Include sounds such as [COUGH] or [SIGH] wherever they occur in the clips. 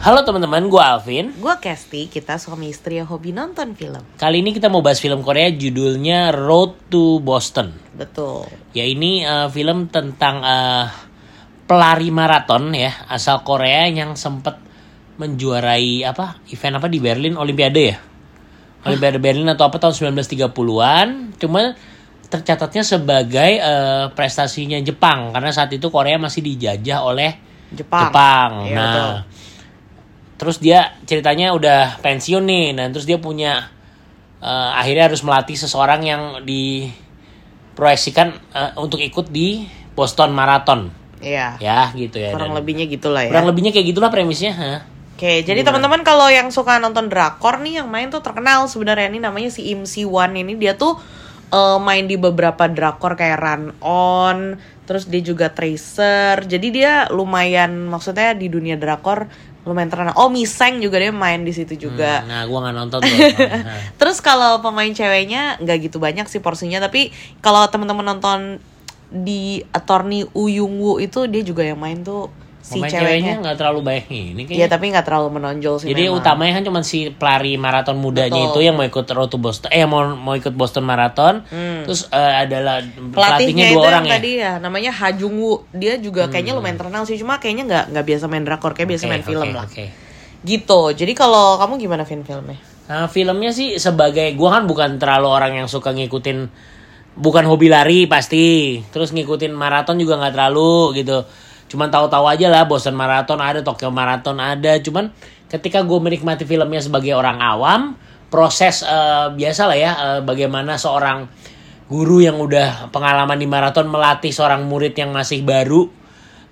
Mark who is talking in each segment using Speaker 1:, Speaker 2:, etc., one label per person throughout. Speaker 1: Halo teman-teman, gue Alvin.
Speaker 2: Gue Kesti, kita suami istri yang hobi nonton film.
Speaker 1: Kali ini kita mau bahas film Korea judulnya Road to Boston.
Speaker 2: Betul.
Speaker 1: Ya ini eh, film tentang eh, pelari maraton ya asal Korea yang sempat menjuarai apa event apa di Berlin Olimpiade ya. Olimpiade Berlin atau apa tahun 1930-an. Cuman tercatatnya sebagai eh, prestasinya Jepang karena saat itu Korea masih dijajah oleh
Speaker 2: Jepang.
Speaker 1: Jepang.
Speaker 2: Iya,
Speaker 1: nah,
Speaker 2: betul.
Speaker 1: terus dia ceritanya udah pensiun nih, dan terus dia punya eh, akhirnya harus melatih seseorang yang diproyeksikan eh, untuk ikut di Boston Marathon,
Speaker 2: Iya.
Speaker 1: ya gitu ya.
Speaker 2: Kurang
Speaker 1: Dan-
Speaker 2: lebihnya gitulah ya.
Speaker 1: kurang lebihnya kayak gitulah premisnya. ha.
Speaker 2: Oke, jadi teman-teman kalau yang suka nonton drakor nih yang main tuh terkenal sebenarnya ini namanya si Im Si Wan ini dia tuh eh, main di beberapa drakor kayak Run On, terus dia juga Tracer. Jadi dia lumayan maksudnya di dunia drakor lumayan terkenal. Oh, Mi Sang juga dia main di situ juga.
Speaker 1: Nah, gua nggak nonton
Speaker 2: [LAUGHS]
Speaker 1: tuh. Nah, Ha.
Speaker 2: Terus kalau pemain ceweknya nggak gitu banyak sih porsinya, tapi kalau teman-teman nonton di attorney Uyung Woo itu dia juga yang main tuh si
Speaker 1: Pemain ceweknya
Speaker 2: ceweknya.
Speaker 1: nggak terlalu banyak ini
Speaker 2: Iya
Speaker 1: kayaknya.
Speaker 2: tapi nggak terlalu menonjol sih.
Speaker 1: Jadi
Speaker 2: memang.
Speaker 1: utamanya kan cuma si pelari maraton mudanya
Speaker 2: Betul.
Speaker 1: itu yang mau ikut Road to Boston, eh mau mau ikut Boston Marathon, terus eh, adalah pelatihnya
Speaker 2: Hmm. pelatihnya itu
Speaker 1: dua orang ya.
Speaker 2: yang
Speaker 1: Hmm.
Speaker 2: tadi ya namanya Ha Jung Woo dia juga kayaknya lumayan terkenal sih cuma kayaknya nggak nggak biasa main drakor kayak biasa
Speaker 1: Oke,
Speaker 2: main film
Speaker 1: oke,
Speaker 2: lah
Speaker 1: oke.
Speaker 2: gitu jadi kalau kamu gimana film filmnya
Speaker 1: Nah, filmnya sih sebagai gua kan bukan terlalu orang yang suka ngikutin bukan hobi lari pasti. Terus ngikutin maraton juga nggak terlalu gitu. Cuman tahu-tahu aja lah Boston Marathon ada, Tokyo Marathon ada. Cuman ketika gue menikmati filmnya sebagai orang awam, proses eh, biasa lah ya eh, bagaimana seorang guru yang udah pengalaman di maraton melatih seorang murid yang masih baru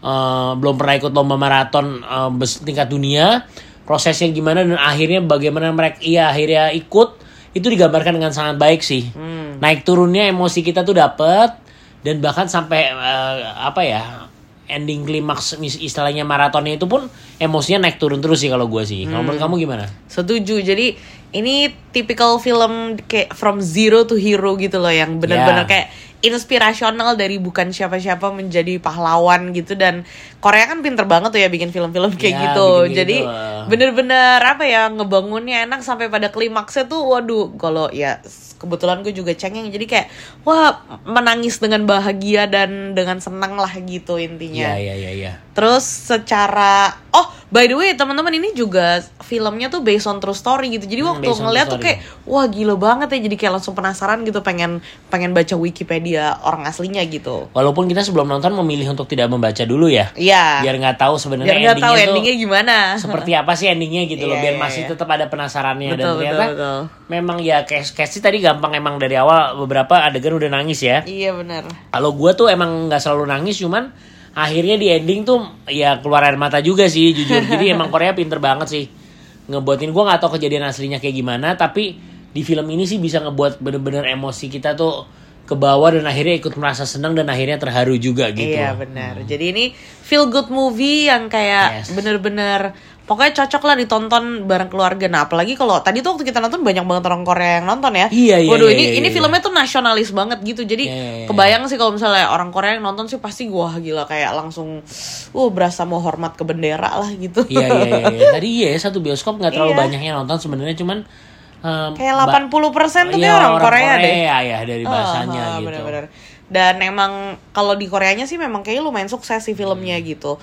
Speaker 1: eh, belum pernah ikut lomba maraton eh, bes- tingkat dunia prosesnya gimana dan akhirnya bagaimana mereka iya akhirnya ikut itu digambarkan dengan sangat baik sih
Speaker 2: Hmm.
Speaker 1: naik turunnya emosi kita tuh dapet dan bahkan sampai eh, apa ya ending klimaks mis- istilahnya maratonnya itu pun emosinya naik turun terus sih kalau gue sih kalau menurut
Speaker 2: Hmm.
Speaker 1: kamu gimana
Speaker 2: Setuju. Jadi ini tipikal film kayak from zero to hero gitu loh yang benar-benar
Speaker 1: Ya.
Speaker 2: kayak inspirasional dari bukan siapa-siapa menjadi pahlawan gitu dan Korea kan pinter banget tuh ya bikin film-film kayak
Speaker 1: Ya,
Speaker 2: gitu.
Speaker 1: bikin kayak
Speaker 2: Jadi
Speaker 1: gitu lah.
Speaker 2: bener-bener apa ya ngebangunnya enak sampai pada klimaksnya tuh waduh kalau ya s- kebetulan gue juga cengeng jadi kayak wah menangis dengan bahagia dan dengan senang lah gitu intinya.
Speaker 1: Iya, iya, iya, iya.
Speaker 2: Terus secara oh by the way teman-teman ini juga filmnya tuh based on true story gitu. Jadi waktu
Speaker 1: Hmm, based on
Speaker 2: ngeliat
Speaker 1: true
Speaker 2: tuh kayak wah gila banget ya. Jadi kayak langsung penasaran gitu pengen pengen baca Wikipedia orang aslinya gitu.
Speaker 1: walaupun kita sebelum nonton memilih untuk tidak membaca dulu ya
Speaker 2: Iya.
Speaker 1: biar nggak tahu sebenarnya
Speaker 2: Biar nggak tahu
Speaker 1: endingnya tuh-
Speaker 2: endingnya gimana.
Speaker 1: seperti apa sih endingnya gitu loh
Speaker 2: Iya,
Speaker 1: biar
Speaker 2: iya,
Speaker 1: masih
Speaker 2: iya.
Speaker 1: tetap ada penasarannya dan
Speaker 2: Betul, betul,
Speaker 1: ternyata
Speaker 2: betul.
Speaker 1: memang ya case case tadi gampang emang dari awal beberapa adegan udah nangis ya
Speaker 2: Iya benar.
Speaker 1: kalau gua tuh emang nggak selalu nangis cuman akhirnya di ending tuh ya keluar air mata juga sih jujur jadi emang Korea pinter banget sih ngebuatin gua nggak tahu kejadian aslinya kayak gimana tapi di film ini sih bisa ngebuat bener-bener emosi kita tuh ke bawah dan akhirnya ikut merasa senang dan akhirnya terharu juga gitu
Speaker 2: Iya benar. Jadi ini feel good movie yang
Speaker 1: Yes.
Speaker 2: kayak bener-bener pokoknya cocok lah ditonton bareng keluarga. Nah apalagi kalau tadi tuh waktu kita nonton banyak banget orang Korea yang nonton ya.
Speaker 1: Iya, iya,
Speaker 2: Waduh
Speaker 1: iya,
Speaker 2: ini
Speaker 1: iya,
Speaker 2: ini
Speaker 1: iya.
Speaker 2: filmnya tuh nasionalis banget gitu. Jadi
Speaker 1: Iya, iya, iya.
Speaker 2: kebayang sih kalau misalnya orang Korea yang nonton sih pasti wah gila kayak langsung uh berasa mau hormat ke bendera lah gitu.
Speaker 1: Iya iya iya, iya. Tadi iya ya, satu bioskop nggak terlalu
Speaker 2: Iya.
Speaker 1: banyak yang nonton sebenarnya cuman em,
Speaker 2: [LAUGHS] Kayak
Speaker 1: ba-
Speaker 2: 80% tuh
Speaker 1: iya,
Speaker 2: kayak orang, Korea, deh.
Speaker 1: ya dari bahasanya
Speaker 2: Ah, ah,
Speaker 1: gitu.
Speaker 2: bener-bener. Dan emang kalau di Koreanya sih memang kayaknya lumayan sukses sih
Speaker 1: Hmm.
Speaker 2: filmnya gitu.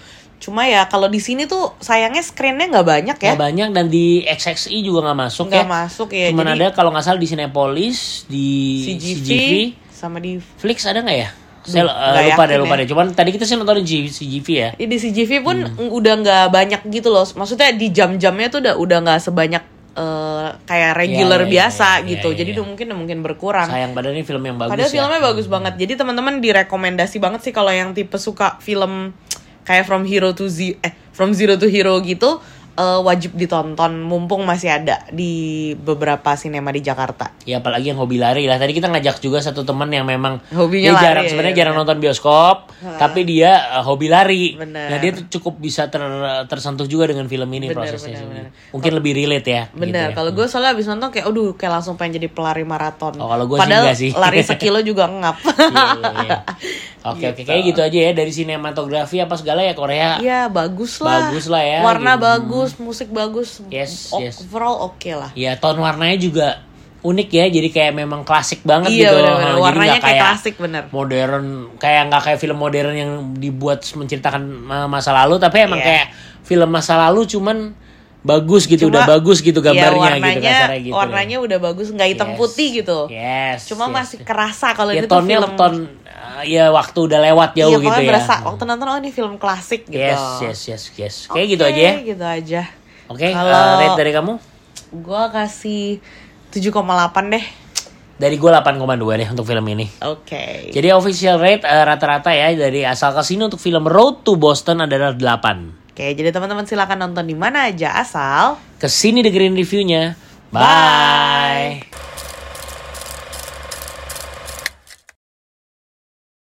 Speaker 2: Cuma ya kalau di sini tuh sayangnya screennya nggak banyak ya,
Speaker 1: Nggak banyak dan di XXI juga nggak masuk ya.
Speaker 2: nggak masuk ya.
Speaker 1: Cuman
Speaker 2: Jadi
Speaker 1: ada kalau nggak salah di Cinepolis, di
Speaker 2: CGV,
Speaker 1: CGV,
Speaker 2: sama di
Speaker 1: Flix ada nggak ya? Saya eh,
Speaker 2: nggak
Speaker 1: lupa deh
Speaker 2: yakin
Speaker 1: lupa
Speaker 2: ya.
Speaker 1: deh. Cuman tadi kita sih nonton di CGV ya.
Speaker 2: Ya, di CGV pun
Speaker 1: Hmm.
Speaker 2: udah nggak banyak gitu loh. Maksudnya di jam-jamnya tuh udah udah nggak sebanyak eh, kayak regular
Speaker 1: iya,
Speaker 2: biasa
Speaker 1: iya,
Speaker 2: gitu.
Speaker 1: iya,
Speaker 2: Jadi
Speaker 1: iya.
Speaker 2: udah mungkin udah mungkin berkurang.
Speaker 1: Sayang padahal ini film yang bagus
Speaker 2: Ah.
Speaker 1: ya.
Speaker 2: Padahal filmnya bagus banget. Jadi teman-teman direkomendasi banget sih kalau yang tipe suka film kayak From Hero to Z eh From Zero to Hero gitu eh, wajib ditonton mumpung masih ada di beberapa sinema di Jakarta.
Speaker 1: Ya apalagi yang hobi lari lah. Tadi kita ngajak juga satu teman yang memang dia
Speaker 2: Hobinya lari,
Speaker 1: jarang
Speaker 2: ya,
Speaker 1: sebenarnya
Speaker 2: ya, Ah.
Speaker 1: jarang nonton bioskop, tapi dia uh, hobi lari.
Speaker 2: Bener.
Speaker 1: Nah, dia tuh cukup bisa ter- tersentuh juga dengan film ini
Speaker 2: Bener,
Speaker 1: prosesnya.
Speaker 2: bener,
Speaker 1: sebenarnya. Mungkin lebih relate ya. gitu
Speaker 2: Bener,
Speaker 1: ya.
Speaker 2: kalau gue soalnya abis nonton kayak aduh kayak langsung pengen jadi pelari maraton.
Speaker 1: Oh, kalau gue sih [LAUGHS]
Speaker 2: Padahal
Speaker 1: enggak sih.
Speaker 2: lari sekilo juga ngap. [LAUGHS]
Speaker 1: Iya, iya, iya. Oke oke kayak gitu aja ya dari sinematografi apa segala ya Korea.
Speaker 2: Iya, bagus lah.
Speaker 1: Bagus lah ya,
Speaker 2: Warna
Speaker 1: gitu.
Speaker 2: bagus, musik bagus.
Speaker 1: Yes,
Speaker 2: O-
Speaker 1: yes.
Speaker 2: Overall oke lah.
Speaker 1: Ya tone warnanya juga unik ya jadi kayak memang klasik banget
Speaker 2: Iya,
Speaker 1: gitu.
Speaker 2: bener-bener.
Speaker 1: Jadi nggak
Speaker 2: Warnanya kayak klasik, bener.
Speaker 1: Modern kayak nggak kayak film modern yang dibuat menceritakan uh, masa lalu tapi emang
Speaker 2: Iya.
Speaker 1: kayak film masa lalu cuman bagus gitu
Speaker 2: Cuma-
Speaker 1: udah bagus gitu
Speaker 2: Iya,
Speaker 1: gambarnya gitu
Speaker 2: warnanya,
Speaker 1: kasarnya gitu.
Speaker 2: Warnanya udah bagus, nggak hitam
Speaker 1: Yes.
Speaker 2: putih gitu.
Speaker 1: Yes.
Speaker 2: Cuma
Speaker 1: yes.
Speaker 2: masih kerasa kalau
Speaker 1: ya
Speaker 2: ini tuh
Speaker 1: tone-nya
Speaker 2: film
Speaker 1: tone uh, ya waktu udah lewat jauh
Speaker 2: iya,
Speaker 1: gitu
Speaker 2: pokoknya
Speaker 1: ya.
Speaker 2: berasa waktu nonton oh ini film klasik gitu.
Speaker 1: Yes, yes, yes, yes. Kayak
Speaker 2: Oke,
Speaker 1: gitu aja ya.
Speaker 2: Gitu aja.
Speaker 1: Oke,
Speaker 2: Kalau-
Speaker 1: uh, rate dari kamu?
Speaker 2: Gua kasih 7,8 deh.
Speaker 1: Dari gue 8,2 deh untuk film ini.
Speaker 2: Oke.
Speaker 1: Jadi official rate eh, rata-rata ya dari asal kasino untuk film Road to Boston adalah 8.
Speaker 2: Oke, jadi teman-teman silakan nonton di mana aja asal
Speaker 1: Kesini dengerin reviewnya. Bye.